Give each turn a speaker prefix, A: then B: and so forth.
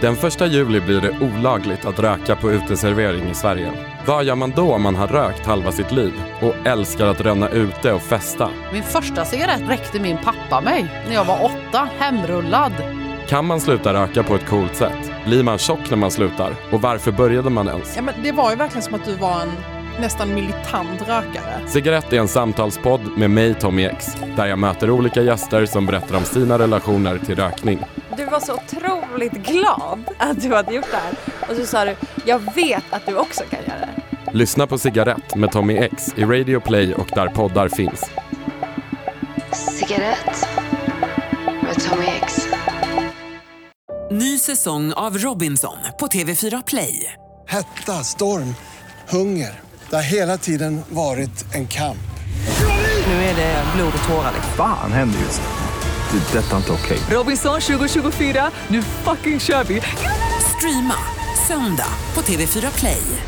A: Den 1 juli blir det olagligt att röka på uteservering i Sverige. Vad gör man då om man har rökt halva sitt liv och älskar att ränna ute och festa?
B: Min första cigarett räckte min pappa mig när jag var åtta, hemrullad.
A: Kan man sluta röka på ett coolt sätt? Blir man tjock när man slutar? Och varför började man ens?
C: Ja, men det var ju verkligen som att du var en nästan militant rökare.
A: Cigarett är en samtalspodd med mig, Tommy X, där jag möter olika gäster som berättar om sina relationer till rökning.
D: Du var så otroligt glad att du hade gjort det här. Och så sa du, jag vet att du också kan göra det.
A: Lyssna på Cigarett med Tommy X i Radio Play och där poddar finns.
E: Cigarett med Tommy X.
F: Ny säsong av Robinson på TV4 Play.
G: Hetta, storm, hunger. Det har hela tiden varit en kamp.
F: Nu är det blod och tårar.
H: Fan händer just nu. Det. är Detta är inte okej.
F: Robinson 2024, nu fucking kör vi! Streama söndag på TV4 Play.